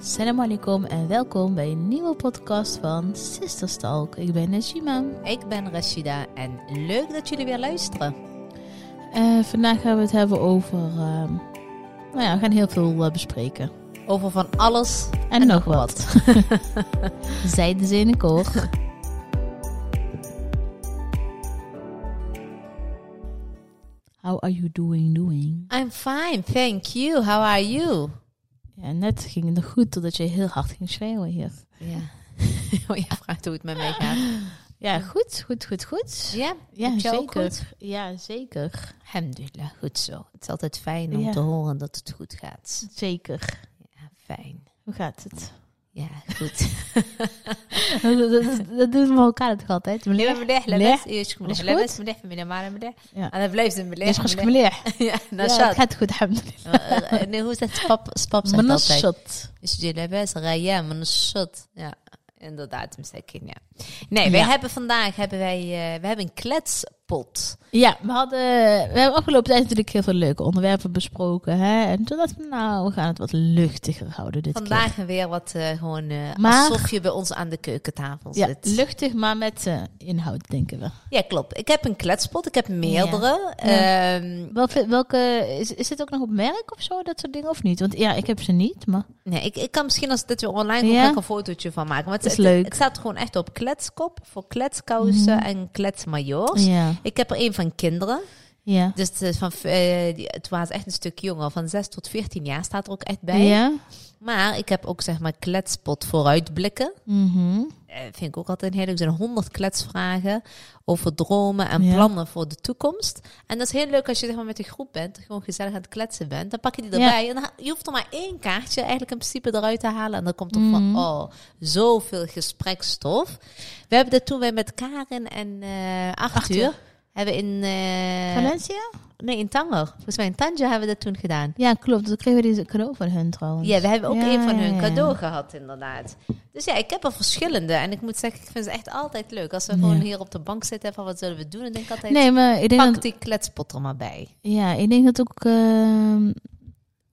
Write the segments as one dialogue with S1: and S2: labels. S1: Salam alaikum en welkom bij een nieuwe podcast van Sisterstalk. Ik ben Najima.
S2: Ik ben Rashida en leuk dat jullie weer luisteren.
S1: Eh, vandaag gaan we het hebben over... ehm, nou ja, we gaan heel veel eh, bespreken.
S2: Over van alles.
S1: En, nog wat. Zijden ze in een koor. How are you doing, doing?
S2: I'm fine, thank you. How are you?
S1: Ja, net ging het nog goed totdat je heel hard ging schreeuwen hier.
S2: Ja. oh, jij vraagt hoe het met mij gaat.
S1: Ja, goed, goed, goed, goed.
S2: Ja,
S1: Ja,
S2: met jou ook
S1: zeker.
S2: goed?
S1: Ja, zeker.
S2: Alhamdulillah, goed zo. Het is altijd fijn om
S1: Ja.
S2: te horen dat het goed gaat.
S1: Zeker.
S2: Ja, fijn.
S1: Hoe gaat het?
S2: Ja, goed.
S1: dat, dat, dat doen we elkaar toch altijd.
S2: مليح مليح لاباس ايش
S1: مش
S2: مليح
S1: كوت؟
S2: لاباس مليح من الإمارة مليح
S1: Ja.
S2: انا بلايف مليح
S1: Dus hartstikke meneer.
S2: مليح.
S1: Ja, het
S2: نشاط
S1: gaat goed, alhamdulillah.
S2: انه هو سباب سباب
S1: Mijn
S2: سباب
S1: shot.
S2: Dus jullie labas, Raya, Manashot. Ja, inderdaad, misschien, ja. Nee, wij
S1: Ja.
S2: hebben vandaag hebben wij, eh, we hebben een kletspot.
S1: Ja, we hadden, we hebben afgelopen tijd natuurlijk heel veel leuke onderwerpen besproken. Hè? En toen dachten we, nou, we gaan het wat luchtiger houden dit
S2: Vandaag weer wat eh, gewoon eh,
S1: Maar-
S2: alsof je bij ons aan de keukentafel
S1: keer. Ja,
S2: zit.
S1: luchtig, maar met eh, inhoud, denken we.
S2: Ja, klopt. Ik heb een kletspot, ik heb meerdere. Ehm,
S1: Wel- welke, is, is dit ook nog op merk of zo, dat soort dingen, of niet? Want ja, ik heb ze niet, maar...
S2: nee, ik, ik kan misschien als dit weer online komt,
S1: Ja.
S2: ga ik een fotootje van maken. Want het,
S1: Is leuk. Mhm.
S2: het staat gewoon echt op kletskop voor kletskousen en kletsmajoors.
S1: Ja,
S2: Ik heb er één van kinderen.
S1: ja.
S2: Dus het, is van, eh, die- het was echt een stuk jonger. Van 6 tot 14 jaar staat er ook echt bij.
S1: Ja?
S2: Maar ik heb ook zeg maar kletspot vooruitblikken.
S1: Mhm.
S2: Eh, vind ik ook altijd een hele... Er zijn 100 kletsvragen over dromen en
S1: Ja.
S2: plannen voor de toekomst. En dat is heel leuk als je zeg maar, met een groep bent. Gewoon gezellig aan het kletsen bent. Dan pak je die erbij. En dan, ha- je hoeft er maar één kaartje eigenlijk in principe eruit te halen. En dan komt
S1: Mhm.
S2: er van, oh, zoveel gespreksstof. We hebben dat toen wij met Karin en eh Arthur...
S1: Arthur.
S2: Hebben in... eh,
S1: Valencia?
S2: Nee, in Tanger. Volgens mij in Tanja hebben we dat toen gedaan.
S1: Ja, klopt. Dan kregen we deze cadeau van hun trouwens.
S2: Ja, we hebben ook
S1: Ja,
S2: een van
S1: ja,
S2: hun
S1: ja.
S2: cadeau gehad, inderdaad. Dus ja, ik heb er verschillende. En ik moet zeggen, ik vind ze echt altijd leuk. Als we
S1: Ja.
S2: gewoon hier op de bank zitten van wat zullen we doen, dan denk ik altijd,
S1: Nee, maar ik denk
S2: pak
S1: dat,
S2: die kletspot er maar bij.
S1: ja, ik denk dat ook ehm,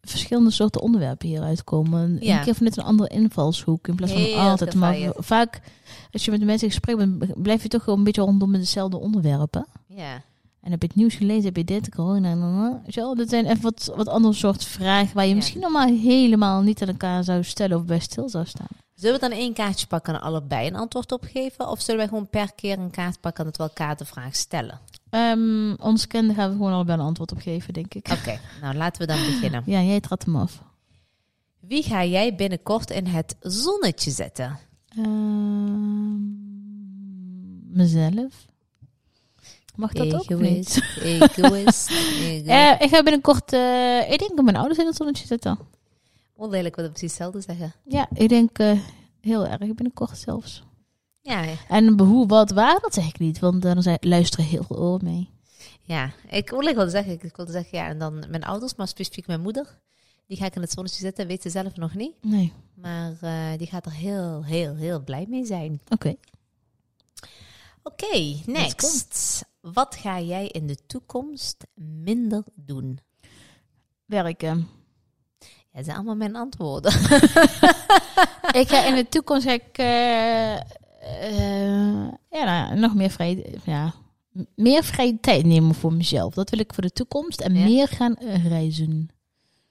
S1: verschillende soorten onderwerpen hieruit komen.
S2: Ja.
S1: Een keer vanuit een andere invalshoek in plaats van
S2: Heel
S1: altijd. Maar
S2: gevarieerd.
S1: vaak, als je met de mensen in gesprek bent, blijf je toch gewoon een beetje rondom met dezelfde onderwerpen.
S2: Ja,
S1: En heb je het nieuws gelezen, heb je dit, corona, en dan, eh, zo. Dat zijn even wat, wat andere soort vragen waar je
S2: Ja.
S1: misschien normaal helemaal niet aan elkaar zou stellen of bij stil zou staan.
S2: Zullen we dan één kaartje pakken en allebei een antwoord op geven? Of zullen wij gewoon per keer een kaart pakken en het wel elkaar de vraag stellen?
S1: Ehm ons kende gaan we gewoon allebei een antwoord op geven, denk ik.
S2: Oké, nou laten we dan beginnen.
S1: Ja, jij trad hem af.
S2: Wie ga jij binnenkort in het zonnetje zetten?
S1: Ehm, mezelf. Mag dat ook of niet?
S2: Egoïst, egoïst, egoïst.
S1: Eh, ik ga binnenkort, eh, ik denk mijn ouders in het zonnetje zetten.
S2: Onlelijk wat we precies hetzelfde zeggen.
S1: Ja, ik denk eh, heel erg binnenkort zelfs.
S2: Ja,
S1: En hoe, wat, waar, dat zeg ik niet, want daar zijn, luisteren heel veel oor mee.
S2: Ja, ik, wil ik wilde zeggen, ik wilde zeggen, ja, en dan mijn ouders, maar specifiek mijn moeder. Die ga ik in het zonnetje zetten, weet ze zelf nog niet.
S1: Nee,
S2: Maar eh, die gaat er heel, heel, heel blij mee zijn.
S1: oké.
S2: Oké, next. Wat ga jij in de toekomst minder doen?
S1: Werken.
S2: Ja, dat zijn allemaal mijn antwoorden.
S1: ik ga in de toekomst ga ik, eh, eh, ja, nou ja, nog meer vrije, ja, m- meer vrije tijd nemen voor mezelf. Dat wil ik voor de toekomst en
S2: Ja.
S1: meer gaan eh, reizen.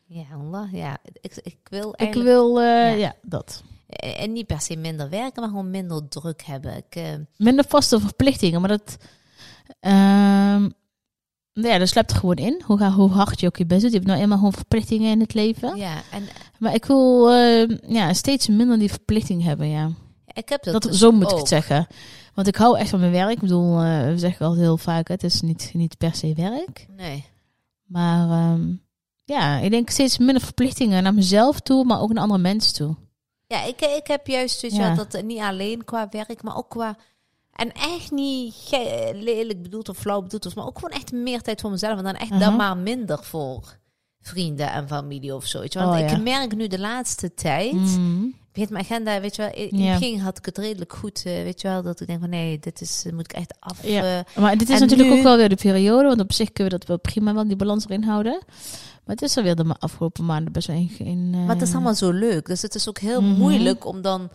S2: Ja, Allah, ja. Ik, ik wil
S1: Ik
S2: eigenlijk...
S1: wil, eh,
S2: Ja.
S1: ja, dat.
S2: eh, En niet per se minder werken, maar gewoon minder druk hebben. Ik, eh,
S1: minder vaste verplichtingen, maar dat. ehm, nou ja, dat slaapt er gewoon in. Hoe, ga- hoe hard je ook je best doet. Je hebt nou eenmaal gewoon verplichtingen in het leven.
S2: ja, en
S1: Maar ik wil ehm, ja, steeds minder die verplichting hebben, ja.
S2: ik heb dat,
S1: Dat,
S2: dus
S1: zo moet ik
S2: ook.
S1: het zeggen. Want ik hou echt van mijn werk. Ik bedoel, eh, we zeggen altijd heel vaak, het is niet, niet per se werk.
S2: Nee.
S1: Maar ehm, ja, ik denk steeds minder verplichtingen naar mezelf toe, maar ook naar andere mensen toe.
S2: Ja, ik, ik heb juist zoiets
S1: Ja.
S2: ja. dat eh, niet alleen qua werk, maar ook qua... En echt niet ge- eh, lelijk bedoeld of flauw bedoeld, of- maar ook gewoon echt meer tijd voor mezelf. En dan echt
S1: Mhm.
S2: dan maar minder voor vrienden en familie of zoiets. Want
S1: Oh,
S2: ik
S1: ja.
S2: merk nu de laatste tijd
S1: Mhm.
S2: weet mijn agenda, weet je wel, in in
S1: Ja.
S2: het begin had ik het redelijk goed, eh, weet je wel, dat ik denk van nee, dit is, eh, moet ik echt af.
S1: Ja.
S2: eh,
S1: Maar dit is
S2: En
S1: natuurlijk
S2: nu-
S1: ook wel weer de periode, want op zich kunnen we dat wel prima wel die balans erin houden. Maar het is alweer de ma- afgelopen maanden best wel in. in, eh,
S2: maar het is allemaal zo leuk, dus het is ook heel
S1: Mhm.
S2: moeilijk om dan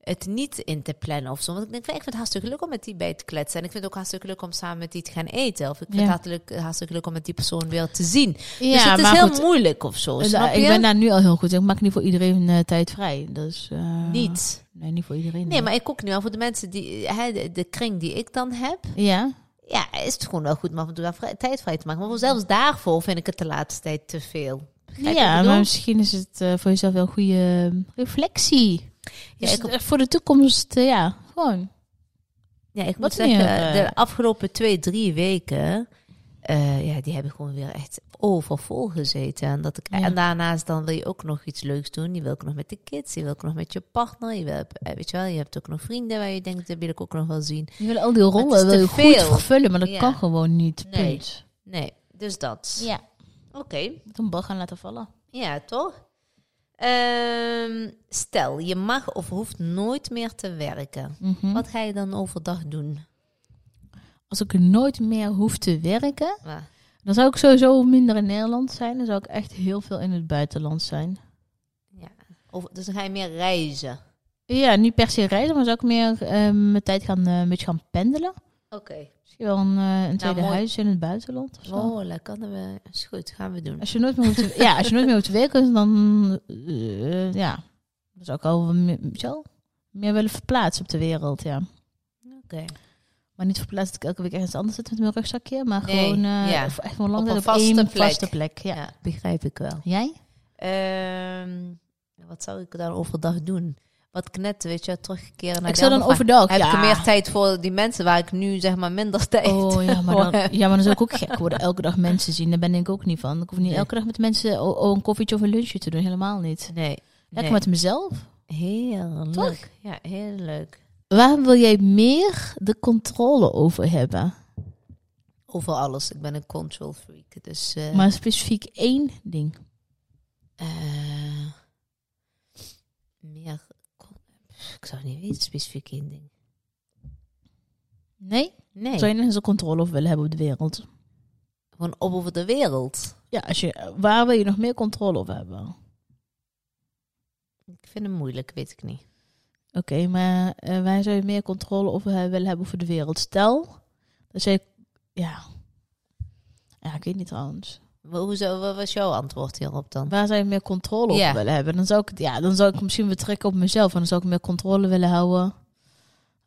S2: het niet in te plannen of zo. Want ik denk, van, ik vind het hartstikke leuk om met die bij te kletsen. En ik vind het ook hartstikke leuk om samen met die te gaan eten. Of ik vind
S1: Ja.
S2: het hartelijk- hartstikke leuk om met die persoon weer te zien.
S1: ja,
S2: dus het is
S1: maar
S2: heel
S1: goed,
S2: moeilijk of zo,
S1: eh,
S2: snap je?
S1: ik ben daar nu al heel goed. in. Ik maak niet voor iedereen eh, tijd vrij. Dus, eh,
S2: Niet.
S1: Nee, niet voor iedereen.
S2: Nee, maar ik ook nu wel voor de mensen die, eh, hè, de, de kring die ik dan heb.
S1: Ja,
S2: Ja, is het gewoon wel goed om af en toe wel vrij- tijd vrij te maken. Maar voor- zelfs daarvoor vind ik het de laatste tijd te veel. Begrijp je wat ik
S1: ja
S2: bedoel?
S1: maar misschien is het eh, voor jezelf wel een goede eh, reflectie. Dus
S2: ik-
S1: eh, voor de toekomst, eh, ja, gewoon.
S2: ja, ik moet
S1: wat
S2: zeggen,
S1: meer, eh,
S2: de afgelopen twee, drie weken... eh, ja, die hebben gewoon weer echt overvol gezeten. En, dat ik,
S1: Ja.
S2: en daarnaast dan wil je ook nog iets leuks doen. Je wil ook nog met de kids, je wil ook nog met je partner. Je, wil, eh, weet je, wel, je hebt ook nog vrienden waar je denkt, dat wil ik ook nog wel zien.
S1: Je wil al die
S2: het
S1: rollen
S2: is
S1: wil
S2: te
S1: je
S2: veel.
S1: goed vervullen, maar dat
S2: Ja.
S1: kan gewoon niet.
S2: Nee.
S1: Punt.
S2: Nee, dus dat.
S1: Ja,
S2: Oké.
S1: moet een bal gaan laten vallen.
S2: Ja, toch? Ehm, stel, je mag of hoeft nooit meer te werken.
S1: Mhm.
S2: Wat ga je dan overdag doen?
S1: Als ik nooit meer hoef te werken,
S2: Ja.
S1: dan zou ik sowieso minder in Nederland zijn. Dan zou ik echt heel veel in het buitenland zijn.
S2: ja. Of, dus dan ga je meer reizen.
S1: Ja, niet per se reizen, maar zou ik meer eh, mijn tijd gaan, eh, een beetje gaan pendelen.
S2: Oké.
S1: Misschien wel een, eh, een tweede
S2: mooi.
S1: huis in het buitenland of zo.
S2: Oh, lekker. Dan we, is goed, gaan we doen.
S1: Als je nooit meer hoeft te, ja, als je nooit meer hoeft te werken, dan eh, ja, dan zou ik al wel meer, zo, meer willen verplaatsen op de wereld, ja.
S2: Oké.
S1: Maar niet verplaatst dat ik elke week ergens anders zit met mijn rugzakje, maar
S2: Nee,
S1: gewoon eh,
S2: ja.
S1: of echt wel lang
S2: Op
S1: tijd
S2: een
S1: op één
S2: vaste plek.
S1: vaste plek. Ja.
S2: Ja. Nou, begrijp ik wel.
S1: Jij?
S2: Ehm, wat zou ik dan overdag doen? Wat ik net, weet je, wel, terugkeren naar
S1: ik
S2: de
S1: zou dan
S2: andere vraag.
S1: overdag.
S2: Heb
S1: ja.
S2: ik meer tijd voor die mensen waar ik nu zeg maar minder tijd
S1: Oh ja maar,
S2: voor
S1: dan,
S2: heb?
S1: ja, maar dan zou ik ook gek worden. Elke dag mensen zien, daar ben ik ook niet van. Ik hoef niet
S2: Nee.
S1: elke dag met mensen o- o- een koffietje of een lunchje te doen, helemaal niet.
S2: Nee.
S1: Lekker
S2: nee.
S1: met mezelf.
S2: Heerlijk.
S1: Toch?
S2: Ja, heel leuk.
S1: Waar wil jij meer de controle over hebben?
S2: Over alles. Ik ben een control freak. Dus eh,
S1: Maar specifiek één ding.
S2: eh, meer. con- Pff, Ik zou niet weten specifiek één ding.
S1: Nee?
S2: Nee,
S1: Zou je nergens de controle over willen hebben op de wereld?
S2: gewoon op over de wereld.
S1: Ja, als je, waar wil je nog meer controle over hebben? Oké,
S2: Ik vind het moeilijk, weet ik niet.
S1: maar eh, waar zou je meer controle over he- willen hebben over de wereld? Stel, dat je... Ja. Ja, ik weet niet trouwens.
S2: Wa- Hoezo, wat was jouw antwoord hierop dan?
S1: Waar zou je meer controle over
S2: Ja.
S1: willen hebben? Dan zou, ik, het- ja, dan zou ik het misschien weer trekken op mezelf. En dan zou ik meer controle willen houden.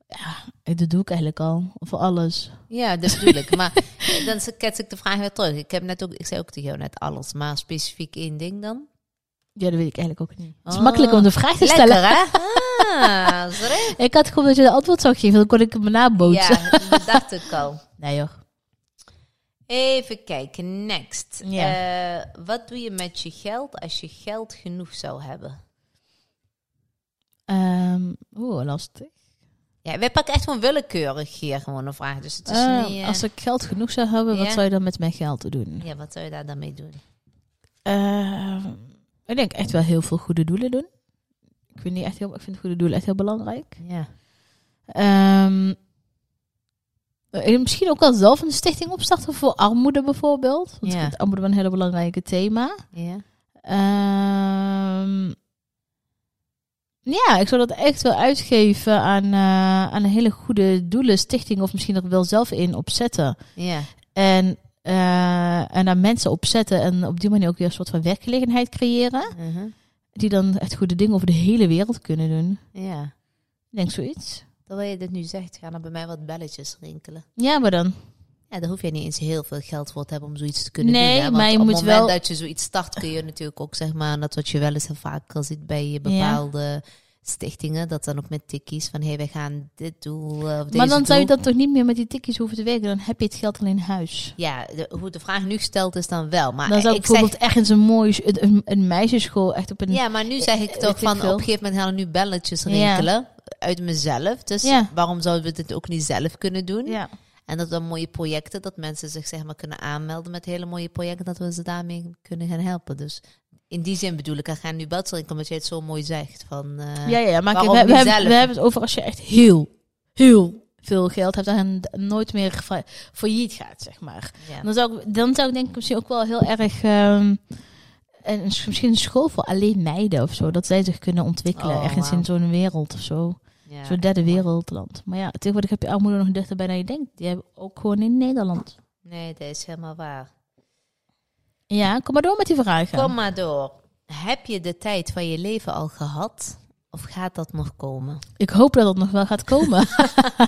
S1: Ja, ik- dat doe ik eigenlijk al. Voor alles.
S2: Ja, dat bedoel ik. Maar eh, dan kets ik de vraag weer terug. Ik, heb net ook, ik zei ook tegen jou net alles, maar specifiek één ding dan?
S1: Ja, dat weet ik eigenlijk ook niet. Het is
S2: Oh.
S1: makkelijk om de vraag te stellen.
S2: Lekker, hè? Ah, sorry.
S1: Ik had gewoon dat je de antwoord zou geven. Dan kon ik hem nabootsen.
S2: Ja, dat dacht ik al.
S1: Nee joh.
S2: Even kijken, next.
S1: Ja.
S2: Eh, wat doe je met je geld als je geld genoeg zou hebben?
S1: Ehm, Oeh, lastig.
S2: Ja, wij pakken echt gewoon willekeurig hier gewoon een vraag. Dus het is
S1: Ehm,
S2: niet... eh,
S1: Als ik geld genoeg zou hebben, wat
S2: Ja.
S1: zou je dan met mijn geld doen?
S2: Ja, wat zou je daar dan mee doen?
S1: Ehm, ik denk echt wel heel veel goede doelen doen. Ik vind, die echt heel, ik vind goede doelen echt heel belangrijk.
S2: Ja.
S1: Ehm, eh, misschien ook wel zelf een stichting opstarten voor armoede bijvoorbeeld. Want ik
S2: Ja.
S1: vind armoede wel een heel belangrijk thema.
S2: Ja.
S1: Ehm, ja, ik zou dat echt wel uitgeven aan, eh, aan een hele goede doelen, stichting of misschien er wel zelf in opzetten.
S2: Ja.
S1: En, eh, en daar mensen op zetten en op die manier ook weer een soort van werkgelegenheid creëren.
S2: Mhm.
S1: Die dan echt goede dingen over de hele wereld kunnen doen.
S2: ja.
S1: Ik denk zoiets.
S2: Terwijl je dit nu zegt, gaan er bij mij wat belletjes rinkelen.
S1: Ja, maar dan.
S2: Ja, daar hoef je niet eens heel veel geld voor te hebben om zoiets te kunnen
S1: Nee,
S2: doen. hè. Want
S1: maar je
S2: op
S1: moet
S2: het moment
S1: wel-
S2: dat je zoiets start, kun je natuurlijk ook zeg maar... Dat wat je wel eens en vaker ziet bij bepaalde... Stichtingen, dat dan ook met tikkies van hé, hey, wij gaan dit doel. eh, Of deze
S1: maar dan
S2: doel.
S1: zou je dan toch niet meer met die tikjes hoeven te werken. Dan heb je het geld al in huis.
S2: Ja, de, hoe de vraag nu gesteld is dan wel. Maar
S1: Dan zou ik
S2: Ah, ik zeg,
S1: bijvoorbeeld ergens een mooie sch- een, een- een meisjesschool echt op een...
S2: ja, maar nu zeg ik
S1: Eh,
S2: toch
S1: weet ik
S2: van op
S1: veel.
S2: een gegeven moment gaan er nu belletjes
S1: Ja.
S2: rinkelen uit mezelf. Dus
S1: Ja.
S2: waarom zouden we dit ook niet zelf kunnen doen?
S1: Ja.
S2: En dat dan mooie projecten, dat mensen zich zeg maar kunnen aanmelden met hele mooie projecten, dat we ze daarmee kunnen gaan helpen. Dus in die zin bedoel ik, er gaan nu badstrekken, omdat jij het zo mooi zegt. Van, eh,
S1: ja, ja, ja, maar kijk, we,
S2: waarom
S1: we
S2: niet
S1: hebben,
S2: zelf?
S1: we hebben het over als je echt heel, heel veel geld hebt en d- nooit meer fa- failliet gaat, zeg maar.
S2: ja.
S1: Dan zou, ik, dan zou ik denk ik misschien ook wel heel erg... ehm, en een s- misschien een school voor alleen meiden of zo. Dat zij zich kunnen ontwikkelen.
S2: Oh,
S1: ergens
S2: wauw.
S1: in zo'n wereld of zo.
S2: Ja.
S1: Zo'n derde wereldland. Maar ja, tegenwoordig heb je armoede nog dichterbij dan je denkt. Die hebben we ook gewoon in Nederland.
S2: Nee, dat is helemaal waar.
S1: Ja, kom maar door met die vragen.
S2: Kom maar door. Heb je de tijd van je leven al gehad? Of gaat dat nog komen?
S1: Ik hoop dat dat nog wel gaat komen.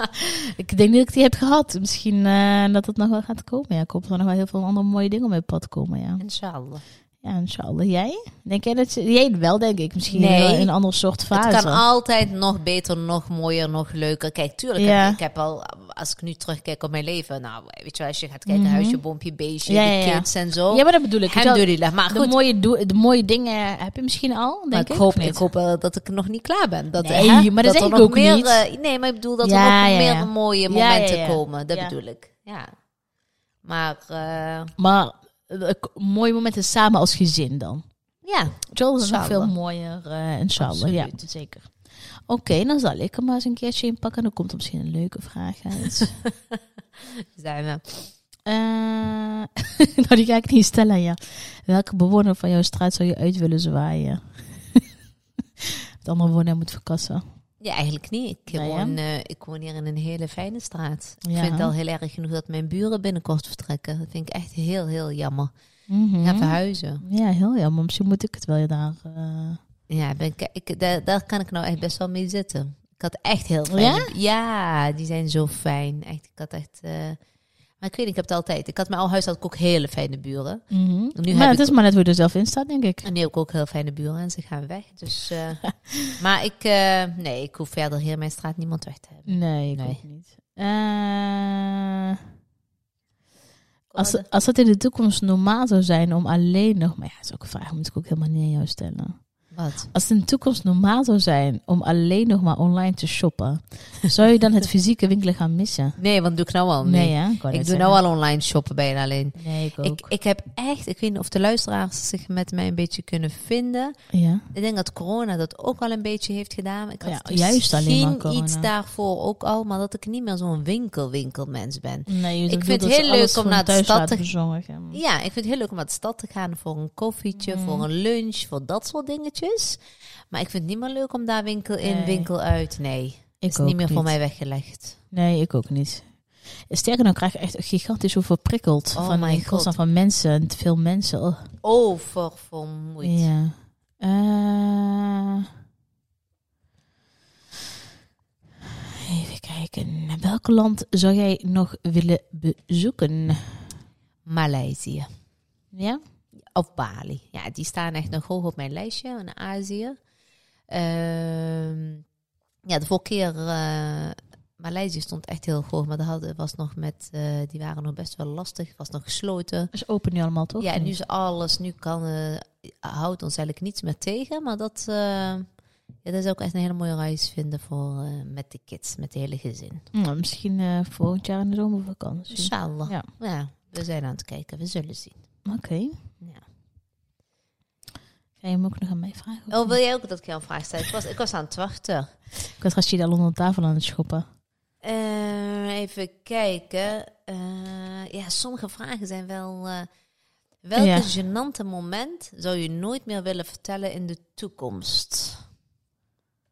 S1: ik denk niet dat ik die heb gehad. Misschien eh, dat het nog wel gaat komen. Ja, ik hoop dat er nog wel heel veel andere mooie dingen op mijn pad komen. Ja,
S2: Inshallah.
S1: ja inshallah. Jij? Denk jij dat je... Jij wel, denk ik. Misschien
S2: Nee.
S1: wel in een ander soort fase.
S2: Het kan altijd nog beter, nog mooier, nog leuker. Kijk, tuurlijk,
S1: Ja.
S2: ik heb al, als ik nu terugkijk op mijn leven, nou, weet je wel, als je gaat kijken,
S1: Mhm.
S2: huisje, boompje, beestje,
S1: Ja,
S2: de
S1: ja, ja.
S2: kids en zo.
S1: Ja, maar dat bedoel ik. Weet je wel,
S2: Alhamdulillah. Maar
S1: de,
S2: goed,
S1: mooie doe- de mooie dingen heb je misschien al, denk
S2: maar
S1: ik.
S2: ik, hoop,
S1: of niet?
S2: ik hoop wel dat ik nog niet klaar ben. Dat,
S1: Nee,
S2: hè,
S1: maar dat zeg
S2: er
S1: ik
S2: nog
S1: ook
S2: meer,
S1: niet.
S2: eh, nee, maar ik bedoel dat
S1: Ja,
S2: er nog
S1: ja,
S2: meer
S1: ja.
S2: mooie
S1: Ja, ja,
S2: momenten
S1: ja.
S2: komen. Dat
S1: Ja.
S2: bedoel ik. Ja. Maar eh,
S1: Maar eh, k- mooie momenten samen als gezin dan.
S2: ja,
S1: Joel is nog
S2: Inshallah.
S1: veel mooier eh inshallah. Ja,
S2: Absoluut.
S1: zeker. Oké, dan zal ik hem maar eens een keertje inpakken. Dan komt er misschien een leuke vraag uit.
S2: zijn we.
S1: Eh, nou, die ga ik niet stellen, ja. Welke bewoner van jouw straat zou je uit willen zwaaien? Het andere bewoner moet verkassen.
S2: Ja, eigenlijk niet. Ik,
S1: Nee, hè?
S2: woon, eh, ik woon hier in een hele fijne straat. Ik
S1: Ja.
S2: vind het al heel erg genoeg dat mijn buren binnenkort vertrekken. Dat vind ik echt heel, heel jammer.
S1: Mhm.
S2: Ga verhuizen.
S1: Ja, heel jammer. Misschien moet ik het wel daar... eh,
S2: Ja, ben ik, ik, daar, daar kan ik nou echt best wel mee zitten. Ik had echt heel fijn.
S1: Ja?
S2: Ja, die zijn zo fijn. Echt, ik had echt... eh, maar ik weet niet, ik heb het altijd. Ik had mijn oude huis had ik ook hele fijne buren.
S1: mhm.
S2: Nu
S1: Maar
S2: heb
S1: het
S2: ik-
S1: is maar net hoe je er zelf in staat, denk ik.
S2: En nu heb ik ook heel fijne buren en ze gaan weg. Dus, eh, maar ik... eh, nee, ik hoef verder hier in mijn straat niemand weg te hebben.
S1: Nee, ik
S2: Nee.
S1: ook niet. Eh,
S2: Kom maar
S1: als, als het in de toekomst normaal zou zijn om alleen nog... Maar ja, dat is ook een vraag, moet ik ook helemaal niet aan jou stellen.
S2: de- Wat?
S1: Als het in de toekomst normaal zou zijn om alleen nog maar online te shoppen... zou je dan het fysieke winkelen gaan missen?
S2: Nee, want doe ik nou al mee.
S1: Nee, hè? Ik,
S2: Ik doe nou al online shoppen bijna alleen.
S1: al... Nee, ik ook.
S2: Ik, ik heb echt, ik weet niet of de luisteraars zich met mij een beetje kunnen vinden.
S1: ja.
S2: Ik denk dat corona dat ook al een beetje heeft gedaan. Ik had
S1: Oh Ja,
S2: het
S1: juist alleen maar
S2: misschien
S1: corona.
S2: iets daarvoor ook al, maar dat ik niet meer zo'n winkel-winkelmens ben.
S1: Nee,
S2: Ik vind het heel leuk om naar de stad te-
S1: gaan.
S2: Ja, ik vind het heel leuk om naar de stad te gaan voor een koffietje,
S1: Mm.
S2: voor een lunch, voor dat soort dingetjes. Maar ik vind het niet meer leuk om daar winkel in,
S1: Nee.
S2: winkel uit. Nee,
S1: Ik
S2: is niet
S1: ook
S2: meer voor mij weggelegd.
S1: Nee, ik ook niet. Sterker nog, krijg ik echt gigantisch overprikkeld
S2: Oh
S1: van
S2: my
S1: mijn
S2: God.
S1: constant van mensen. en te Veel mensen. Oh.
S2: Oververmoeid.
S1: Ja. Eh, even kijken. Naar Welk land zou jij nog willen bezoeken?
S2: Maleisië.
S1: Ja?
S2: Of Bali. Ja, die staan echt nog hoog op mijn lijstje in Azië. Ehm, ja, de vorige keer eh, Maleisië stond echt heel hoog, maar dat hadden, was nog met, eh, die waren nog best wel lastig, was nog gesloten.
S1: Dat is open nu allemaal, toch?
S2: ja, en nu is alles, nu kan, eh, houdt ons eigenlijk niets meer tegen, maar dat, eh, ja, dat is ook echt een hele mooie reis vinden voor, eh, met de kids, met het hele gezin.
S1: Nou, misschien eh, volgend jaar in de zomervakantie.
S2: Inshallah.
S1: Ja.
S2: Ja. we zijn aan het kijken, we zullen zien.
S1: Oké.
S2: Ja.
S1: Ga je hem ook nog aan mij vragen? of
S2: Oh,
S1: niet?
S2: wil jij ook dat ik jou een vraag stel? Ik was, ik was aan het wachten.
S1: Ik was Rashida al onder de tafel aan het schoppen.
S2: Eh, even kijken. Eh, ja, sommige vragen zijn wel. eh welke
S1: Ja.
S2: genante moment zou je nooit meer willen vertellen in de toekomst?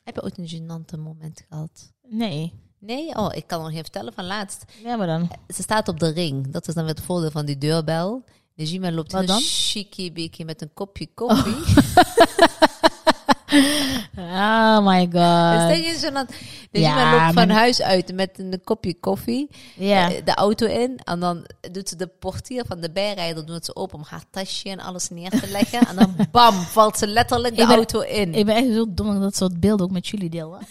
S2: Heb je ooit een genante moment gehad?
S1: Nee.
S2: Nee? Oh, ik kan nog geen vertellen van laatst.
S1: Ja, maar dan.
S2: Ze staat op de ring. Dat is dan weer het voordeel van die deurbel. Najima loopt
S1: Wat
S2: heel
S1: dan?
S2: chicky-bicky met een kopje koffie.
S1: Oh my
S2: Dat
S1: god.
S2: is tegen genant.
S1: Ja,
S2: Najima loopt van
S1: maar-
S2: huis uit met een kopje koffie.
S1: Ja.
S2: eh, de auto in. En dan doet ze de portier van de bijrijder doet ze open om haar tasje en alles neer te leggen. en dan bam, valt ze letterlijk de
S1: Ik ben-
S2: auto in.
S1: Ik ben echt zo dom dat ik dat soort beelden ook met jullie deel. hè.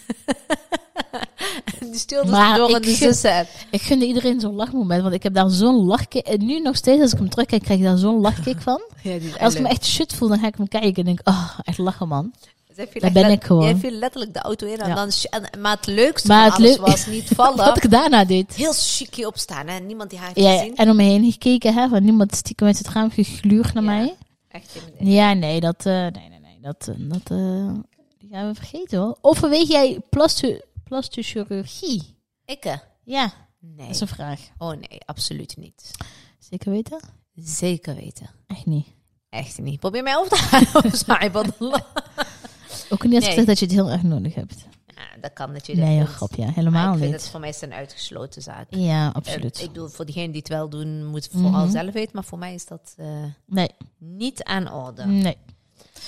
S2: Die stuurde ze
S1: Maar
S2: door
S1: ik
S2: in de
S1: gun-
S2: zussen.
S1: Ik gunde iedereen zo'n lachmoment, want ik heb daar zo'n lachkick. En nu nog steeds, als ik hem terugkijk, krijg ik daar zo'n lachkick van.
S2: Ja, die is
S1: Als ik me
S2: leuk.
S1: echt shit voel, dan ga ik hem kijken en denk, oh, echt lachen man.
S2: Zij viel
S1: daar
S2: echt
S1: ben
S2: let-
S1: ik gewoon.
S2: Jij viel letterlijk de auto in. En
S1: Ja.
S2: dan, sh- en- maar het leukste
S1: Maar
S2: van
S1: het
S2: alles
S1: leuk-
S2: was niet vallen.
S1: Wat ik daarna deed.
S2: Heel chiquie opstaan. Hè? Niemand die haar heeft
S1: Ja,
S2: gezien.
S1: en om me heen gekeken, hè, van niemand stiekem uit het raam gegluurd naar
S2: Ja.
S1: mij.
S2: Echt in mijn
S1: Ja, nee, dat, eh, nee, nee, nee, dat, eh, dat eh, die gaan we vergeten hoor. Of verweeg jij plastu plastochirurgie?
S2: Ikke?
S1: Ja, dat
S2: Nee.
S1: is een vraag.
S2: Oh nee, absoluut niet.
S1: Zeker weten?
S2: Zeker weten.
S1: Echt niet.
S2: Echt niet. Probeer mij op te halen. Zwaai van de lach.
S1: Ook niet als ik
S2: Nee.
S1: zeg dat je het heel erg nodig hebt.
S2: Ja, dat kan natuurlijk.
S1: Nee, een
S2: niet.
S1: grapje.
S2: Maar
S1: Helemaal
S2: ik vind
S1: niet.
S2: dat voor mij is het een uitgesloten zaak.
S1: Ja,
S2: Eh,
S1: absoluut.
S2: Ik bedoel, voor diegenen die het wel doen, moeten het vooral
S1: Mhm.
S2: zelf weten. Maar voor mij is dat eh,
S1: nee,
S2: niet aan orde.
S1: nee.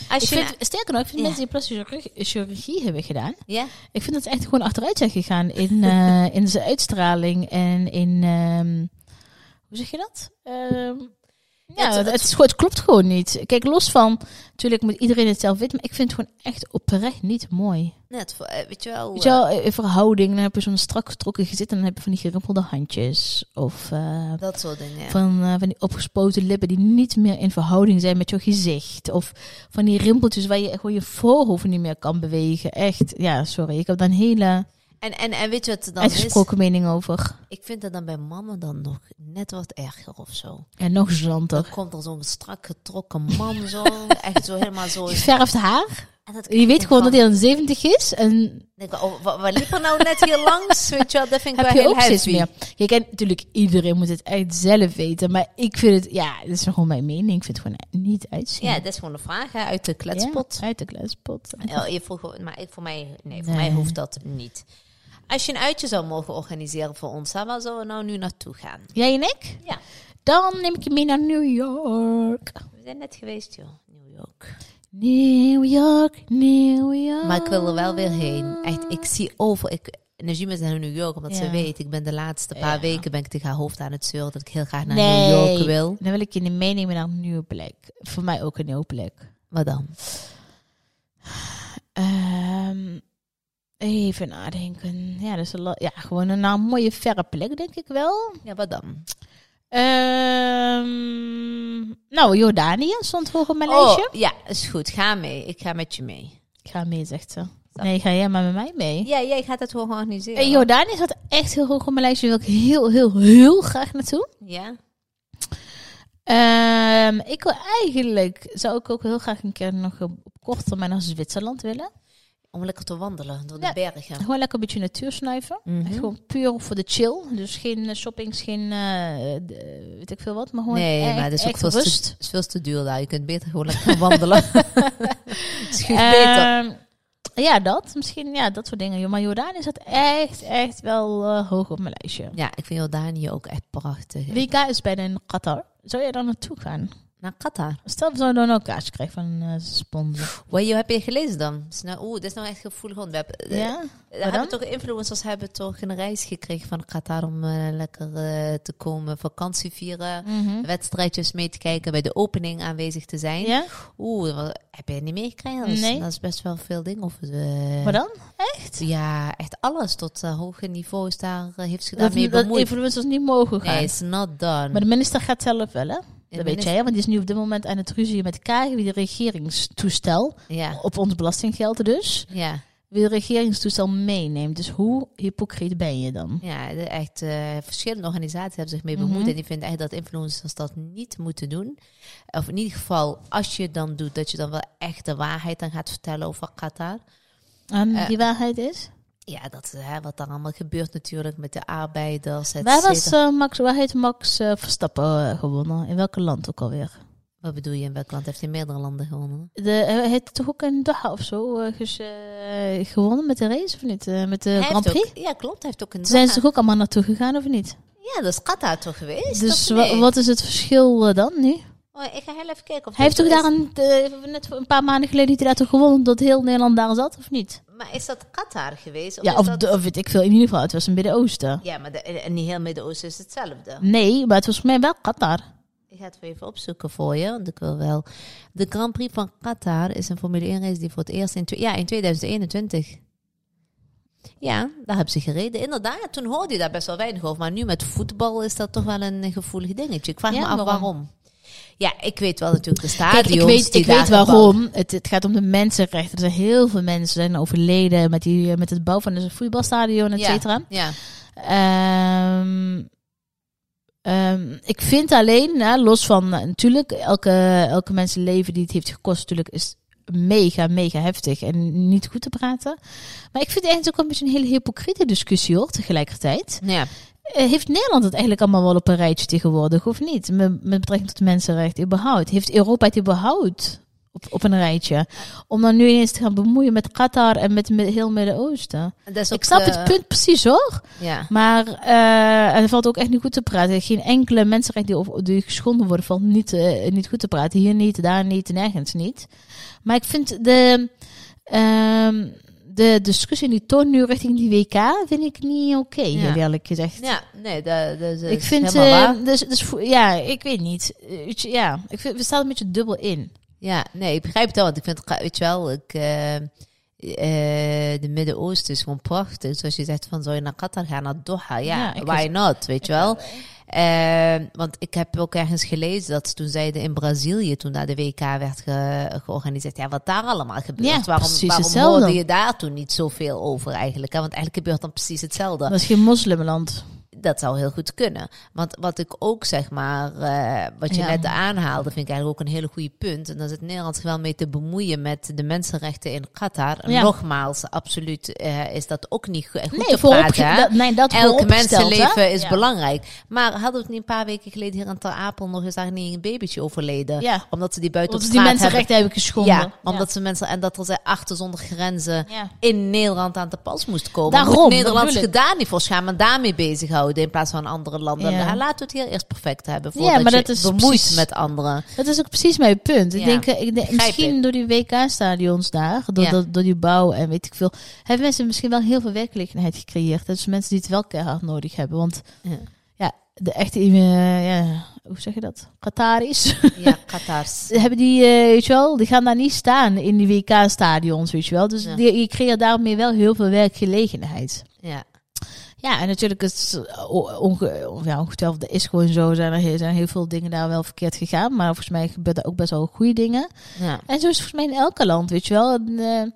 S2: Als
S1: Mm. Ik
S2: je...
S1: vind, sterker nog, ik vind
S2: Ja.
S1: mensen die plastische chirurg- chirurgie hebben gedaan,
S2: ja?
S1: ik vind dat ze echt gewoon achteruit zijn gegaan in, eh, in zijn uitstraling en in, ehm, hoe zeg je dat? Ehm, ja,
S2: Het-
S1: het,
S2: het-
S1: het, is gewoon- het klopt gewoon niet. Kijk, los van, natuurlijk moet iedereen het zelf weten, maar ik vind het gewoon echt oprecht niet mooi.
S2: Net, voor- eh, weet je wel.
S1: Weet je wel, eh, verhouding, dan heb je zo'n strak getrokken gezit en dan heb je van die gerimpelde handjes. Of eh,
S2: eh, dat soort dingen.
S1: van, eh, van die opgespoten lippen die niet meer in verhouding zijn met je gezicht. Of van die rimpeltjes waar je gewoon je voorhoofd niet meer kan bewegen. Echt, ja, sorry. Ik heb daar een hele
S2: En, en, en weet je wat er dan is?
S1: uitgesproken mening over.
S2: Ik vind dat dan bij mannen dan nog net wat erger of zo.
S1: En nog
S2: Dan
S1: zanter.
S2: komt er zo'n strak getrokken man zo. echt zo helemaal zo.
S1: Je verft haar.
S2: En dat
S1: Je weet gewoon dat
S2: van-
S1: hij dan 70 is. En
S2: Denk, ik, oh, wat, wat liep er nou net hier langs? Weet je wel, dat vind ik
S1: heb
S2: wel
S1: je
S2: heel
S1: ook steeds
S2: heavy.
S1: meer. Kijk, en natuurlijk, iedereen moet het echt zelf weten. Maar ik vind het, ja, dat is gewoon mijn mening. Ik vind het gewoon niet uitzien.
S2: Ja, dat is gewoon een vraag hè, uit de
S1: Ja,
S2: kletspot.
S1: uit de kletspot.
S2: Ja, je vroeg, wel- maar ik- voor mij, nee, voor
S1: Nee.
S2: mij hoeft dat niet. Als je een uitje zou mogen organiseren voor ons, hè, waar zouden we nou nu naartoe gaan?
S1: Jij en ik?
S2: Ja.
S1: Dan neem ik je mee naar New York.
S2: We zijn net geweest, joh, New York.
S1: New York, New York.
S2: Maar ik wil er wel weer heen. Echt, ik zie over. Ik, Najima is naar New York, omdat ze
S1: Ja.
S2: weet, ik ben de laatste paar
S1: Ja.
S2: weken ben ik tegen haar hoofd aan het zeuren dat ik heel graag naar
S1: Nee.
S2: New York wil.
S1: Dan wil ik je meenemen naar een nieuwe plek. Voor mij ook een nieuwe plek.
S2: Wat dan?
S1: Ehm, even nadenken. Ja, dus een la- ja, gewoon een, nou, mooie verre plek, denk ik wel.
S2: Ja, wat dan?
S1: Ehm, nou, Jordanië stond hoog op mijn lijstje.
S2: Oh, ja, is goed. Ga mee. Ik ga met je mee.
S1: Ik ga mee, zegt ze. Nee, ga jij maar met mij mee.
S2: Ja, jij gaat het gewoon organiseren.
S1: Eh, Jordanië zat echt heel hoog op mijn lijstje. Daar wil ik heel, heel, heel graag naartoe.
S2: Ja?
S1: Ehm, ik wil eigenlijk, zou ik ook heel graag een keer nog op op korte termijn naar Zwitserland willen.
S2: Om lekker te wandelen door
S1: Ja.
S2: de bergen.
S1: Gewoon lekker een beetje natuur snuiven.
S2: Mhm.
S1: Echt gewoon puur voor de chill. Dus geen eh, shoppings, geen eh, eh, de- weet ik veel wat. Maar gewoon
S2: nee,
S1: echt,
S2: maar dat is ook
S1: echt
S2: veel te,
S1: rust.
S2: is veel te duur daar. Je kunt beter gewoon lekker gaan wandelen. Het schuurt beter.
S1: Ehm, ja, dat. Misschien ja, dat soort dingen. Maar Jordanië zat echt, echt wel eh, hoog op mijn lijstje.
S2: Ja, ik vind Jordanië ook echt prachtig.
S1: WK is bijna in Qatar. Zou jij daar naartoe gaan?
S2: Naar Qatar.
S1: Stel, we zouden dan ook kaartje krijgen van eh sponsor.
S2: Wat heb je gelezen dan? Is nou- Oeh, dit is nou echt gevoelig onderwerp. Eh,
S1: Ja?
S2: eh, hebben
S1: dan?
S2: toch influencers hebben toch een reis gekregen van Qatar om eh, lekker eh, te komen, vakantie vieren,
S1: Mhm.
S2: wedstrijdjes mee te kijken, bij de opening aanwezig te zijn.
S1: Ja?
S2: Oeh, wat- heb je niet meegekregen? Dat, is-
S1: Nee.
S2: dat is best wel veel dingen. Of, eh,
S1: Maar dan? Echt?
S2: Ja, echt alles tot eh, hoge niveaus daar eh, heeft zich
S1: dat,
S2: daarmee
S1: dat
S2: bemoeid.
S1: influencers niet mogen gaan.
S2: Nee, it's not done.
S1: Maar de minister gaat zelf wel, hè? Dat weet jij,
S2: minister-
S1: hè? want die is nu op dit moment aan het ruzie met Kaag, wie de regeringstoestel,
S2: Ja,
S1: op ons belastinggeld dus,
S2: ja,
S1: wie de regeringstoestel meeneemt. Dus hoe hypocriet ben je dan?
S2: ja de- echt eh, verschillende organisaties hebben zich mee
S1: Mhm.
S2: bemoeid. En die vinden echt dat influencers dat niet moeten doen. Of in ieder geval, als je het dan doet, dat je dan wel echt de waarheid dan gaat vertellen over Qatar.
S1: En
S2: Eh,
S1: die waarheid is?
S2: Ja, dat, eh, wat daar allemaal gebeurt natuurlijk met de arbeiders, et
S1: Waar, was,
S2: cetera.
S1: eh, Max, waar heeft Max eh, Verstappen eh, gewonnen? In welk land ook alweer?
S2: Wat bedoel je, in welk land heeft hij meerdere landen gewonnen?
S1: De, eh, hij heeft toch ook in Doha of zo eh, ges- eh, gewonnen met de race, of niet? Eh, met de
S2: Hij
S1: Grand
S2: heeft
S1: Prix?
S2: ook- ja, klopt. Hij heeft ook een
S1: Toen Zijn ze toch ook allemaal naartoe gegaan, of niet?
S2: Ja, dat is Qatar toch geweest?
S1: Dus
S2: of
S1: wa-
S2: nee?
S1: wat is het verschil eh, dan nu?
S2: Oh, ik ga heel even kijken. Of
S1: Hij heeft
S2: dat
S1: toch
S2: zo
S1: daar een, eh, net voor een paar maanden geleden heeft hij daar toch gewonnen dat heel Nederland daar zat, of niet?
S2: is. Maar is dat Qatar geweest? Of
S1: ja,
S2: is
S1: of,
S2: dat...
S1: de- of weet ik veel. In ieder geval, het was een Midden-Oosten.
S2: Ja, maar de, en niet heel Midden-Oosten is hetzelfde.
S1: Nee, maar het was voor mij wel Qatar.
S2: Ik ga het weer even opzoeken voor je, want ik wil wel. De Grand Prix van Qatar is een Formule 1 race die voor het eerst in, twe- ja, in 2021. Ja, daar hebben ze gereden. Inderdaad, toen hoorde je daar best wel weinig over. Maar nu met voetbal is dat toch wel een gevoelig dingetje. Ik vraag
S1: Ja,
S2: me af waarom.
S1: waarom?
S2: Ja, ik weet wel natuurlijk de stadions
S1: Kijk, ik weet,
S2: Ah, die
S1: ik
S2: daar
S1: weet
S2: gebouwd-
S1: waarom. Het, het gaat om de mensenrechten. Er zijn heel veel mensen zijn overleden met, die, eh, met het bouwen van een voetbalstadion, et
S2: Ja,
S1: cetera.
S2: Ja,
S1: Ehm, Ehm, ik vind alleen, nou, los van eh, natuurlijk, elke, elke mensenleven die het heeft gekost, natuurlijk is mega, mega heftig en niet goed te praten. Maar ik vind het eigenlijk ook wel een beetje een hele hypocriete discussie hoor, tegelijkertijd.
S2: nou Ja.
S1: Eh, heeft Nederland het eigenlijk allemaal wel op een rijtje tegenwoordig, of niet? Met, met betrekking tot mensenrechten überhaupt. Heeft Europa het überhaupt op, op een rijtje? Om dan nu ineens te gaan bemoeien met Qatar en met, met heel Midden-Oosten.
S2: Dat is
S1: Ik
S2: ook,
S1: snap
S2: eh,
S1: het punt precies hoor.
S2: Ja.
S1: Maar eh er valt ook echt niet goed te praten. Geen enkele mensenrecht die, over- die geschonden worden, valt niet, eh, niet goed te praten. Hier niet, daar niet, nergens niet. Maar ik vind de, ehm, de discussie in die toon nu richting die WK, vind ik niet oké,
S2: Ja.
S1: eerlijk gezegd.
S2: Ja, nee, dat, dat is
S1: ik vind,
S2: helemaal
S1: eh,
S2: waar.
S1: dus, dus, voor- ja, ik weet niet. Eh, weet je, ja, ik vind, we staan een beetje dubbel in.
S2: Ja, nee, ik begrijp het wel. Want ik vind, het ra- weet je wel, ik, eh, eh, de Midden-Oosten is gewoon prachtig. Zoals je zegt, van zou je naar Qatar gaan, naar Doha? Ja,
S1: Ja, ik
S2: why not, weet je wel? Eh, want ik heb ook ergens gelezen dat ze toen zeiden in Brazilië, toen daar de WK werd ge- georganiseerd, ja, wat daar allemaal gebeurt.
S1: Ja,
S2: waarom
S1: precies
S2: waarom
S1: hetzelfde.
S2: hoorde je daar toen niet zoveel over eigenlijk? Hè? Want eigenlijk gebeurt dan precies hetzelfde.
S1: Dat is geen moslimland.
S2: Dat zou heel goed kunnen. Want wat ik ook zeg maar, eh, wat je
S1: Ja.
S2: net aanhaalde, vind ik eigenlijk ook een hele goede punt. En dat is het Nederlands zich wel mee te bemoeien met de mensenrechten in Qatar. En
S1: Ja.
S2: Nogmaals, absoluut eh, is dat ook niet go- goed
S1: Nee,
S2: te
S1: voorop,
S2: praten. hè?
S1: dat, nee, dat
S2: Elk
S1: vooropgesteld, hè?
S2: mensenleven is
S1: Ja.
S2: belangrijk. Maar hadden we het niet een paar weken geleden hier aan Ter Apel nog eens daar niet een babytje overleden?
S1: Ja.
S2: Omdat ze die buiten
S1: Omdat
S2: op
S1: ze die
S2: straat hebben.
S1: mensenrechten hebben geschonden.
S2: Ja, omdat ze mensen en dat er zijn achter zonder grenzen
S1: Ja.
S2: in Nederland aan te pas moest komen.
S1: Daarom,
S2: Moet
S1: dat
S2: Nederland
S1: bedoel
S2: zich
S1: ik.
S2: daar niet voor schamen en daarmee bezighouden in plaats van andere landen.
S1: Ja.
S2: Ja, laten we het hier eerst perfect hebben
S1: Ja,
S2: voordat
S1: maar dat
S2: je
S1: is
S2: bemoeit
S1: precies-
S2: met anderen.
S1: Dat is ook precies mijn punt. Ik
S2: Ja,
S1: denk, eh, ik denk
S2: begrijp
S1: misschien
S2: ik.
S1: door die WK-stadions daar, door,
S2: Ja.
S1: door, door die bouw en weet ik veel, hebben mensen misschien wel heel veel werkelijkheid gecreëerd. Dat is mensen die het wel keihard nodig hebben. Want
S2: Ja.
S1: ja, de echte, eh, ja, hoe zeg je dat? Qataris.
S2: Ja, Qatars.
S1: hebben die, eh, weet je wel, die gaan daar niet staan in die WK-stadions, weet je wel. Dus
S2: Ja.
S1: die, je creëert daarmee wel heel veel werkgelegenheid.
S2: Ja.
S1: Ja, en natuurlijk is het eh, o- onge, ja, ongetwijfeld dat is gewoon zo. Zijn er heel- zijn heel veel dingen daar wel verkeerd gegaan. Maar volgens mij gebeurt er ook best wel goede dingen.
S2: Ja.
S1: En zo is het volgens mij in elke land, weet je wel. En, eh,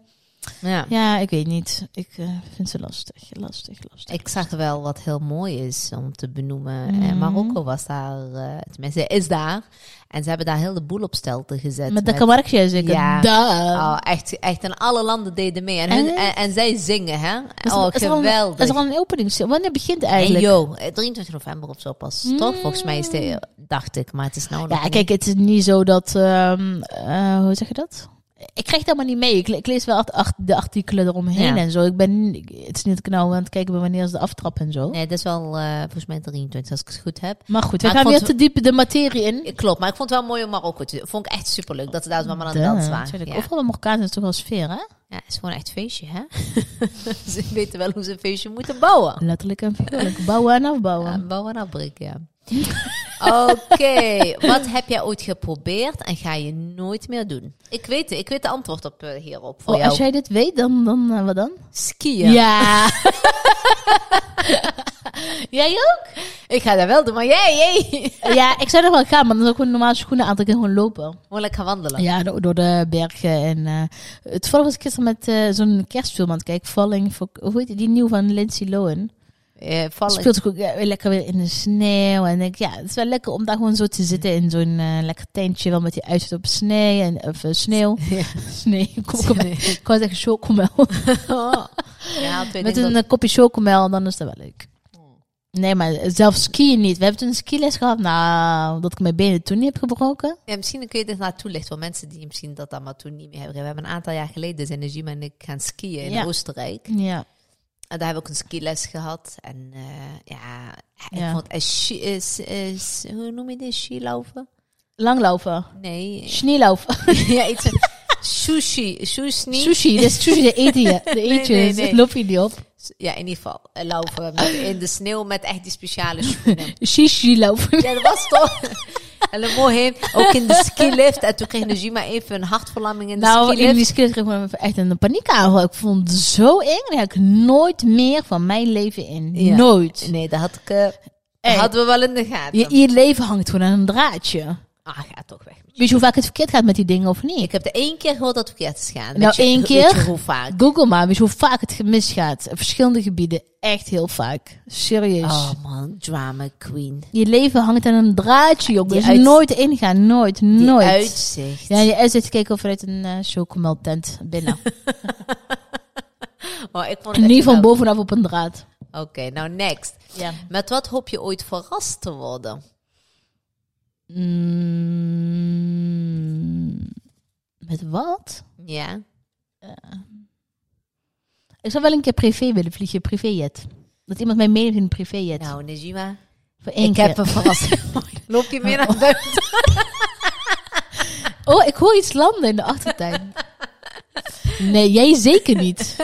S2: Ja.
S1: ja, ik weet niet. Ik eh, vind ze lastig, lastig, lastig.
S2: Ik zag wel wat heel mooi is om te benoemen. Eh,
S1: Mhm.
S2: Marokko was daar, eh tenminste is daar. En ze hebben daar heel de boel op stelten gezet.
S1: Met dat kamarkje zeker.
S2: Ja.
S1: Daar.
S2: Oh, echt, echt, en alle landen deden mee. En, hun, en, en zij zingen, hè?
S1: Is er-
S2: oh,
S1: is er al een-
S2: geweldig.
S1: Is er al een opening? Wanneer begint het
S2: En
S1: eigenlijk? Mm.
S2: yo, eh, 23 november of zo pas, toch? Volgens mij is de, eh, dacht ik, maar het is nou nog
S1: Ja, kijk, het is niet zo dat... ehm, eh, hoe zeg je dat? Ik krijg het helemaal niet mee. Ik, le- ik lees wel art- art- de artikelen eromheen
S2: Ja.
S1: en zo. Ik ben, ik- het is niet dat ik nou aan het kijken ben wanneer is de aftrap en zo.
S2: niet. Nee, dat is wel eh, volgens mij 23, als ik het goed heb.
S1: Maar goed, we
S2: Maar ik
S1: gaan
S2: vond
S1: weer te diep de materie in.
S2: Eh, Klopt, maar ik vond het wel mooi om Marokko te Vond ik echt superleuk dat ze daar allemaal aan het
S1: Duh,
S2: dansen waren.
S1: natuurlijk.
S2: Ja.
S1: Overal bij Marokkanen is toch wel sfeer, hè?
S2: ja, het is gewoon echt feestje, hè? ze weten wel hoe ze een feestje moeten bouwen.
S1: Letterlijk en figuurlijk. Bouwen en afbouwen.
S2: Ja, bouwen en afbreken, ja. Oké, wat heb jij ooit geprobeerd en ga je nooit meer doen? Ik weet, het, ik weet de antwoord op, eh, hierop voor
S1: Oh,
S2: jou.
S1: als jij dit weet, dan, dan eh, wat dan?
S2: Skiën.
S1: Ja. jij ook?
S2: Ik ga dat wel doen, maar jij, jij.
S1: Ja, ik zou er wel gaan, maar dan zou ik gewoon normale schoenen aantrekken en gewoon lopen.
S2: Gewoon lekker wandelen.
S1: Ja, do- door de bergen. En, eh, het toevallig was ik gisteren met eh, zo'n kerstfilm aan het kijken. Falling, for, hoe heet die, die nieuw van Lindsay Lohan?
S2: Eh,
S1: Het
S2: vallen.
S1: speelt ook ook, eh, weer lekker weer in de sneeuw. En denk, ik, ja, het is wel lekker om daar gewoon zo te zitten in zo'n eh, lekker tentje. Wel met die uitzicht op sneeuw. En, of eh, sneeuw. Sneeuw. Kom, kom, ik wou zeggen chocomel.
S2: Oh. Ja, twee
S1: Met
S2: dingen
S1: een
S2: dat-
S1: eh, kopje chocomel, dan is dat wel leuk. Nee, maar zelfs skiën niet. We hebben toen een skiles gehad. Nou, dat ik mijn benen toen niet heb gebroken.
S2: eh, Ja, misschien kun je dit naar toelichten voor mensen die misschien dat allemaal toen niet meer hebben. We hebben een aantal jaar geleden zijn Najima en ik gaan skiën in
S1: Ja.
S2: Oostenrijk.
S1: Ja.
S2: En daar hebben we ook een skiles gehad. En eh, ja, ik
S1: Ja.
S2: vond... eh, schi- eh, s- eh, s- hoe noem je dit? Skilaufen?
S1: Langlopen.
S2: Nee.
S1: Schneelopen.
S2: ja, iets van... Sushi. Sushi.
S1: Sushi. Dat is sushi, de eten je. De eet je.
S2: nee,
S1: Dus
S2: nee.
S1: loop je niet op.
S2: Ja, in ieder geval. eh, Laufen met- in de sneeuw met echt die speciale schoenen.
S1: Shishi lopen.
S2: Ja, dat was toch. En dan mooi heen, ook in de skilift. En toen kreeg Najima even een hartverlamming in de
S1: Nou, in
S2: skilift.
S1: die skiles kreeg ik me echt een paniekaanval. Ik vond het zo eng. Daar heb ik nooit meer van mijn leven in.
S2: Ja.
S1: Nooit.
S2: Nee, dat had ik, eh,
S1: Hey.
S2: hadden we wel in de gaten.
S1: Je, je leven hangt gewoon aan een draadje.
S2: Ah, ga toch weg. met je.
S1: Weet je hoe vaak het verkeerd gaat met die dingen of niet?
S2: Ik heb de één keer gehoord dat het verkeerd is gegaan.
S1: Nou,
S2: Weet je-
S1: één
S2: weet je
S1: keer?
S2: hoe vaak?
S1: Google maar, weet je hoe vaak het misgaat? Op verschillende gebieden, echt heel vaak. Serieus.
S2: Oh man, drama queen.
S1: Je leven hangt aan een draadje, jongen.
S2: Die
S1: Dus
S2: uit-
S1: nooit ingaan, nooit,
S2: Die
S1: nooit.
S2: uitzicht.
S1: Ja, je uitzicht kijken vanuit een eh chocomeltent binnen.
S2: Oh, ik vond het
S1: nu
S2: echt
S1: van
S2: wel-
S1: bovenaf op een draad.
S2: Oké, nou next.
S1: Ja.
S2: Met wat hoop je ooit verrast te worden?
S1: Mm, met wat? Eh,
S2: Ja.
S1: Ik zou wel een keer privé willen vliegen, privéjet. Dat iemand mij meeneemt in een privéjet.
S2: Nou, Najima.
S1: Voor één
S2: ik
S1: keer.
S2: heb een verrassing. Loop je mee naar buiten?
S1: Oh, ik hoor iets landen in de achtertuin. Nee, jij zeker niet.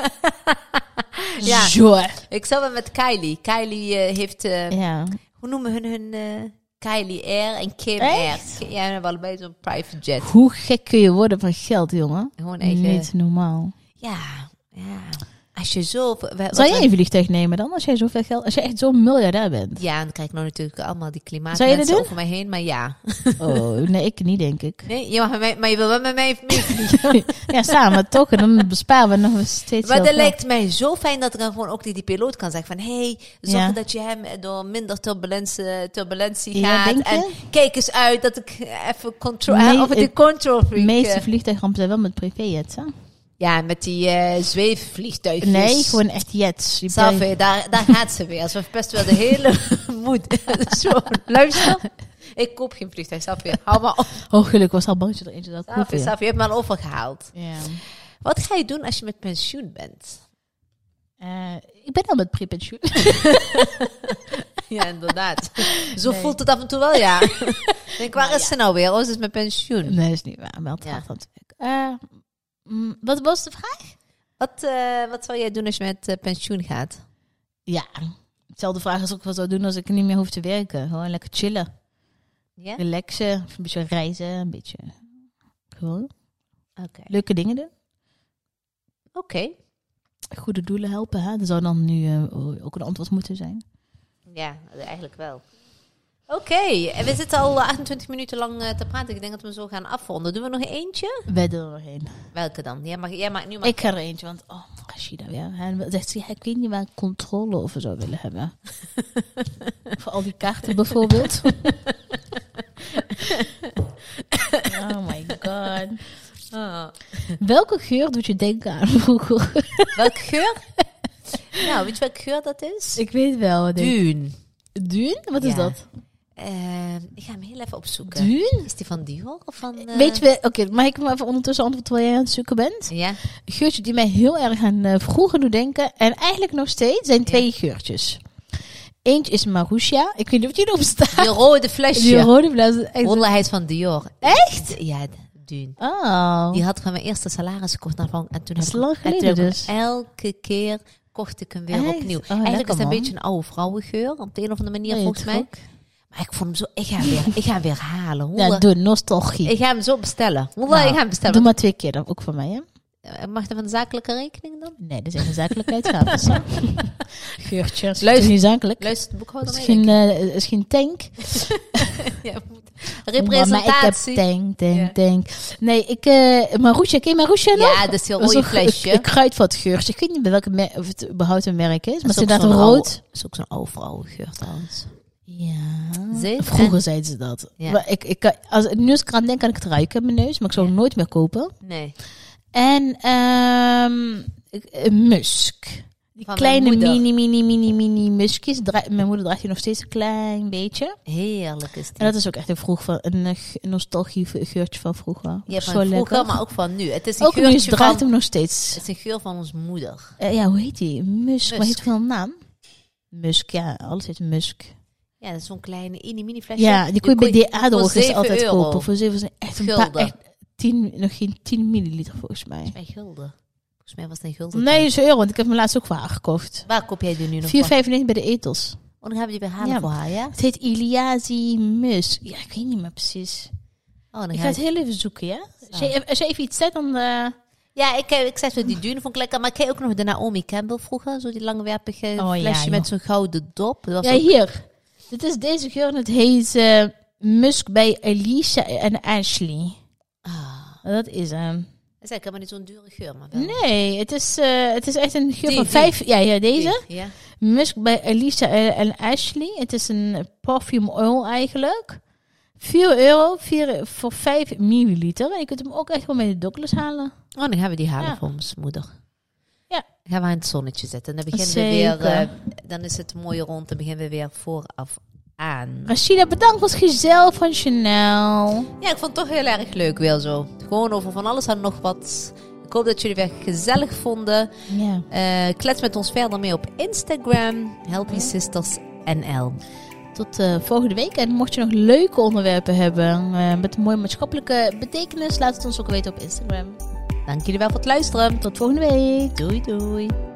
S2: Ja.
S1: Zo.
S2: Ik zou wel met Kylie. Kylie eh, heeft... eh,
S1: Ja.
S2: Hoe noemen hun hun... eh, Kylie Air en Kim
S1: Echt?
S2: Air. Ja, we hebben allebei zo'n private jet.
S1: Hoe gek kun je worden van geld, jongen?
S2: Gewoon eigen...
S1: Niet normaal.
S2: Ja, ja. Als je zo... we- wat
S1: Zou jij
S2: we-
S1: een vliegtuig nemen dan, als jij zoveel geld... Als jij echt zo'n miljardair bent?
S2: Ja, en dan krijg ik nou natuurlijk allemaal die
S1: Zou je dat
S2: klimaatmensen
S1: doen?
S2: over mij heen. Maar ja.
S1: Oh, nee, ik niet, denk ik.
S2: Nee, je mag met mij, maar je wil wel met mij meevliegen.
S1: Ja, samen toch. En dan besparen we nog steeds
S2: Maar
S1: heel
S2: dat
S1: veel.
S2: lijkt mij zo fijn dat ik dan gewoon ook die, die piloot kan zeggen van... hey, zorg
S1: Ja.
S2: dat je hem door minder turbulentie, turbulentie
S1: Ja,
S2: gaat.
S1: denk je?
S2: en kijk eens uit dat ik even control...
S1: Nee,
S2: eh, of ik de
S1: het
S2: control freak...
S1: De meeste
S2: eh,
S1: vliegtuigrampen zijn wel met privéjets, hè?
S2: ja, met die eh zweefvliegtuigjes.
S1: Nee, gewoon echt jets. Je bent-
S2: Safi, daar, daar gaat ze weer. Ze verpest wel de hele moed. Dus zo, luister. Ik koop geen vliegtuig, Safi. Hou maar op.
S1: Oh, gelukkig was al bang dat je er eentje zou
S2: Safi,
S1: kopen. ja.
S2: Safi, je hebt me al overgehaald.
S1: Ja.
S2: Wat ga je doen als je met pensioen bent?
S1: Eh, ik ben al met prepensioen.
S2: Ja, inderdaad. Zo
S1: Nee.
S2: voelt het af en toe wel, ja. Denk, waar
S1: Nou,
S2: is ze nou weer? Oh, ze is met pensioen.
S1: Nee, is niet waar. Wel traag natuurlijk. Eh, mm, wat was de vraag?
S2: Wat, eh, wat zou jij doen als je met eh, pensioen gaat?
S1: Ja, hetzelfde vraag als ik wat zou doen als ik niet meer hoef te werken. Gewoon lekker chillen,
S2: Ja? Oké.
S1: relaxen, een beetje reizen, een beetje gewoon leuke dingen doen.
S2: Oké.
S1: Goede doelen helpen, hè? Dat zou dan nu eh, ook een antwoord moeten zijn.
S2: Ja, eigenlijk wel. Oké, en we zitten al 28 minuten lang eh, te praten. Ik denk dat we zo gaan afronden. Doen we nog eentje?
S1: Wij doen er doorheen.
S2: Welke dan? Jij mag, jij mag, nu mag
S1: Ik ga er eentje, want oh, Rashida weer. hè. En dan zegt ze, ja, ik weet niet waar ik controle over zou willen hebben. Voor al die kaarten bijvoorbeeld. oh my god.
S2: Oh.
S1: Welke geur doet je denken aan vroeger?
S2: Welke geur? nou, weet je welke geur dat is?
S1: ik weet wel. Duun?
S2: Duun.
S1: Duun? Wat
S2: Ja.
S1: is dat?
S2: Eh, ik ga hem heel even opzoeken.
S1: Duun?
S2: Is die van Dior of van... eh,
S1: Weet je, wel- oké, mag ik maar even ondertussen antwoord terwijl jij aan het zoeken bent?
S2: Ja.
S1: Een geurtje die mij heel erg aan eh, vroeger doet denken. En eigenlijk nog steeds zijn twee geurtjes. Eentje is Marusha. Ik weet niet of die erop staat.
S2: Die rode flesje.
S1: Die rode blaas. is echt-
S2: Rollenheid van Dior. Echt? Ja, Duun.
S1: Oh.
S2: Die had ik van mijn eerste salaris gekocht naar Frank. En toen
S1: Dat is
S2: heb ik-
S1: lang
S2: en toen
S1: geleden
S2: heb ik
S1: dus.
S2: Elke keer kocht ik hem weer
S1: Echt?
S2: opnieuw.
S1: Oh,
S2: Eigenlijk
S1: lekker,
S2: is het een
S1: man.
S2: beetje een oude vrouwengeur. Op de een of andere manier
S1: Oh, je
S2: volgens mij.
S1: trok.
S2: Maar ik vond hem zo... Ik ga hem weer, ik ga hem weer halen.
S1: Ja,
S2: Wallah.
S1: doe Nou, nostalgie.
S2: ik ga hem zo bestellen. Wallah,
S1: Nou,
S2: ik ga hem
S1: Doe
S2: bestellen. Eh,
S1: maar twee keer dan, ook van mij, hè?
S2: Mag dat van de zakelijke rekening dan?
S1: Nee, dat zijn geen zakelijke uitgaven. zo. Geurtje. dat is
S2: Luister.
S1: toch niet zakelijk.
S2: Luistert de boekhouder
S1: Het is
S2: mee?
S1: geen, eh, is geen tank.
S2: Ja, moet-
S1: Maar ik heb
S2: Representatie.
S1: tank, tank,
S2: Ja.
S1: tank. Nee, ik... eh Marusha, ken je Marusha nog?
S2: ja, dat is heel
S1: Dat is
S2: rode
S1: een ge-
S2: flesje.
S1: Een kruidvatgeurtje. Ik weet niet bij welke mer- of het überhaupt een merk is. Maar het is
S2: ook
S1: inderdaad
S2: zo'n
S1: rood.
S2: oude- Hm. is ook zo'n oude vrouwengeur trouwens.
S1: Ja.
S2: Zeep
S1: Vroeger zeiden ze dat.
S2: Ja.
S1: Maar ik, ik, kan- als ik nu eens eraan denk, kan ik het ruiken in mijn neus. Maar ik zou het nooit meer kopen.
S2: Nee.
S1: En ehm ik- een musk. Die
S2: Van
S1: kleine
S2: mijn moeder.
S1: mini, mini, mini, mini muskjes. Dra- mijn moeder draagt die nog steeds een klein beetje.
S2: Heerlijk is die.
S1: En dat is ook echt een, vroeg van, een eh, ge- nostalgie geurtje van vroeger.
S2: ja,
S1: Zo
S2: van vroeger,
S1: lekker.
S2: maar ook van nu. Het is een,
S1: ook nu
S2: geurtje
S1: draagt
S2: van,
S1: hem nog steeds.
S2: het is een geur van ons moeder.
S1: Eh, ja, hoe heet die? Musk. Maar heeft
S2: Musk.
S1: het wel een naam? Musk, ja. Alles heet Musk.
S2: Ja, dat is zo'n kleine mini-mini flesje.
S1: Ja, die kon je bij de Adolf
S2: voor
S1: is altijd
S2: 7 euro.
S1: kopen. Voor 7 zijn echt een paar,
S2: Gulden.
S1: echt 10, nog geen 10 milliliter volgens mij.
S2: Bij gulden. Volgens mij was het een gulden.
S1: Nee, is een euro, want ik heb hem laatst ook waar gekocht. 4,95
S2: Waar koop jij die nu nog van?
S1: bij de etels.
S2: Oh, dan gaan we die weer halen
S1: Ja.
S2: voor haar, ja? Oh,
S1: Het heet Iliazi Musk. Ja, ik weet niet meer precies.
S2: Oh, dan
S1: Ik
S2: ga
S1: ga het
S2: ik...
S1: heel even zoeken, ja? Als je, als je even iets zegt, dan... eh,
S2: Ja, ik, ik zei zo, die duur vond ik lekker. Maar ik heb ook nog de Naomi Campbell vroeger. Zo die langwerpige
S1: Oh, ja,
S2: flesje
S1: joh.
S2: met zo'n gouden dop. Dat was
S1: Ja,
S2: ook-
S1: hier. Dit is deze geur en het heet eh, Musk bij Elisa en Ashley.
S2: Ah.
S1: Dat is hem.
S2: Dat is eigenlijk helemaal niet zo'n dure geur, maar wel.
S1: Nee, het is, eh, het is echt een geur
S2: Die,
S1: van
S2: die.
S1: vijf... Ja, ja, deze.
S2: Ja.
S1: Musk bij Elisa eh, en Ashley. Het is een perfume oil eigenlijk. 4 euro vier- voor 5 milliliter. En je kunt hem ook echt wel met de Douglas halen.
S2: Oh, dan gaan we die halen
S1: Ja.
S2: voor ons moeder.
S1: Ja.
S2: Dan gaan we aan het zonnetje zetten. Dan beginnen
S1: Zeker.
S2: we weer... eh, dan is het mooi rond. Dan beginnen we weer vooraf aan.
S1: Rashida, bedankt voor het gezel van Chanel.
S2: Ja, ik vond het toch heel erg leuk weer zo. Gewoon over van alles en nog wat. Ik hoop dat jullie weer gezellig vonden.
S1: Ja.
S2: Eh, klets met ons verder mee op Instagram. Healthy Sisters NL.
S1: Tot eh, volgende week. En mocht je nog leuke onderwerpen hebben eh, met een mooie maatschappelijke betekenis, laat het ons ook weten op Instagram.
S2: Dank jullie wel voor het luisteren.
S1: Tot volgende week.
S2: Doei doei.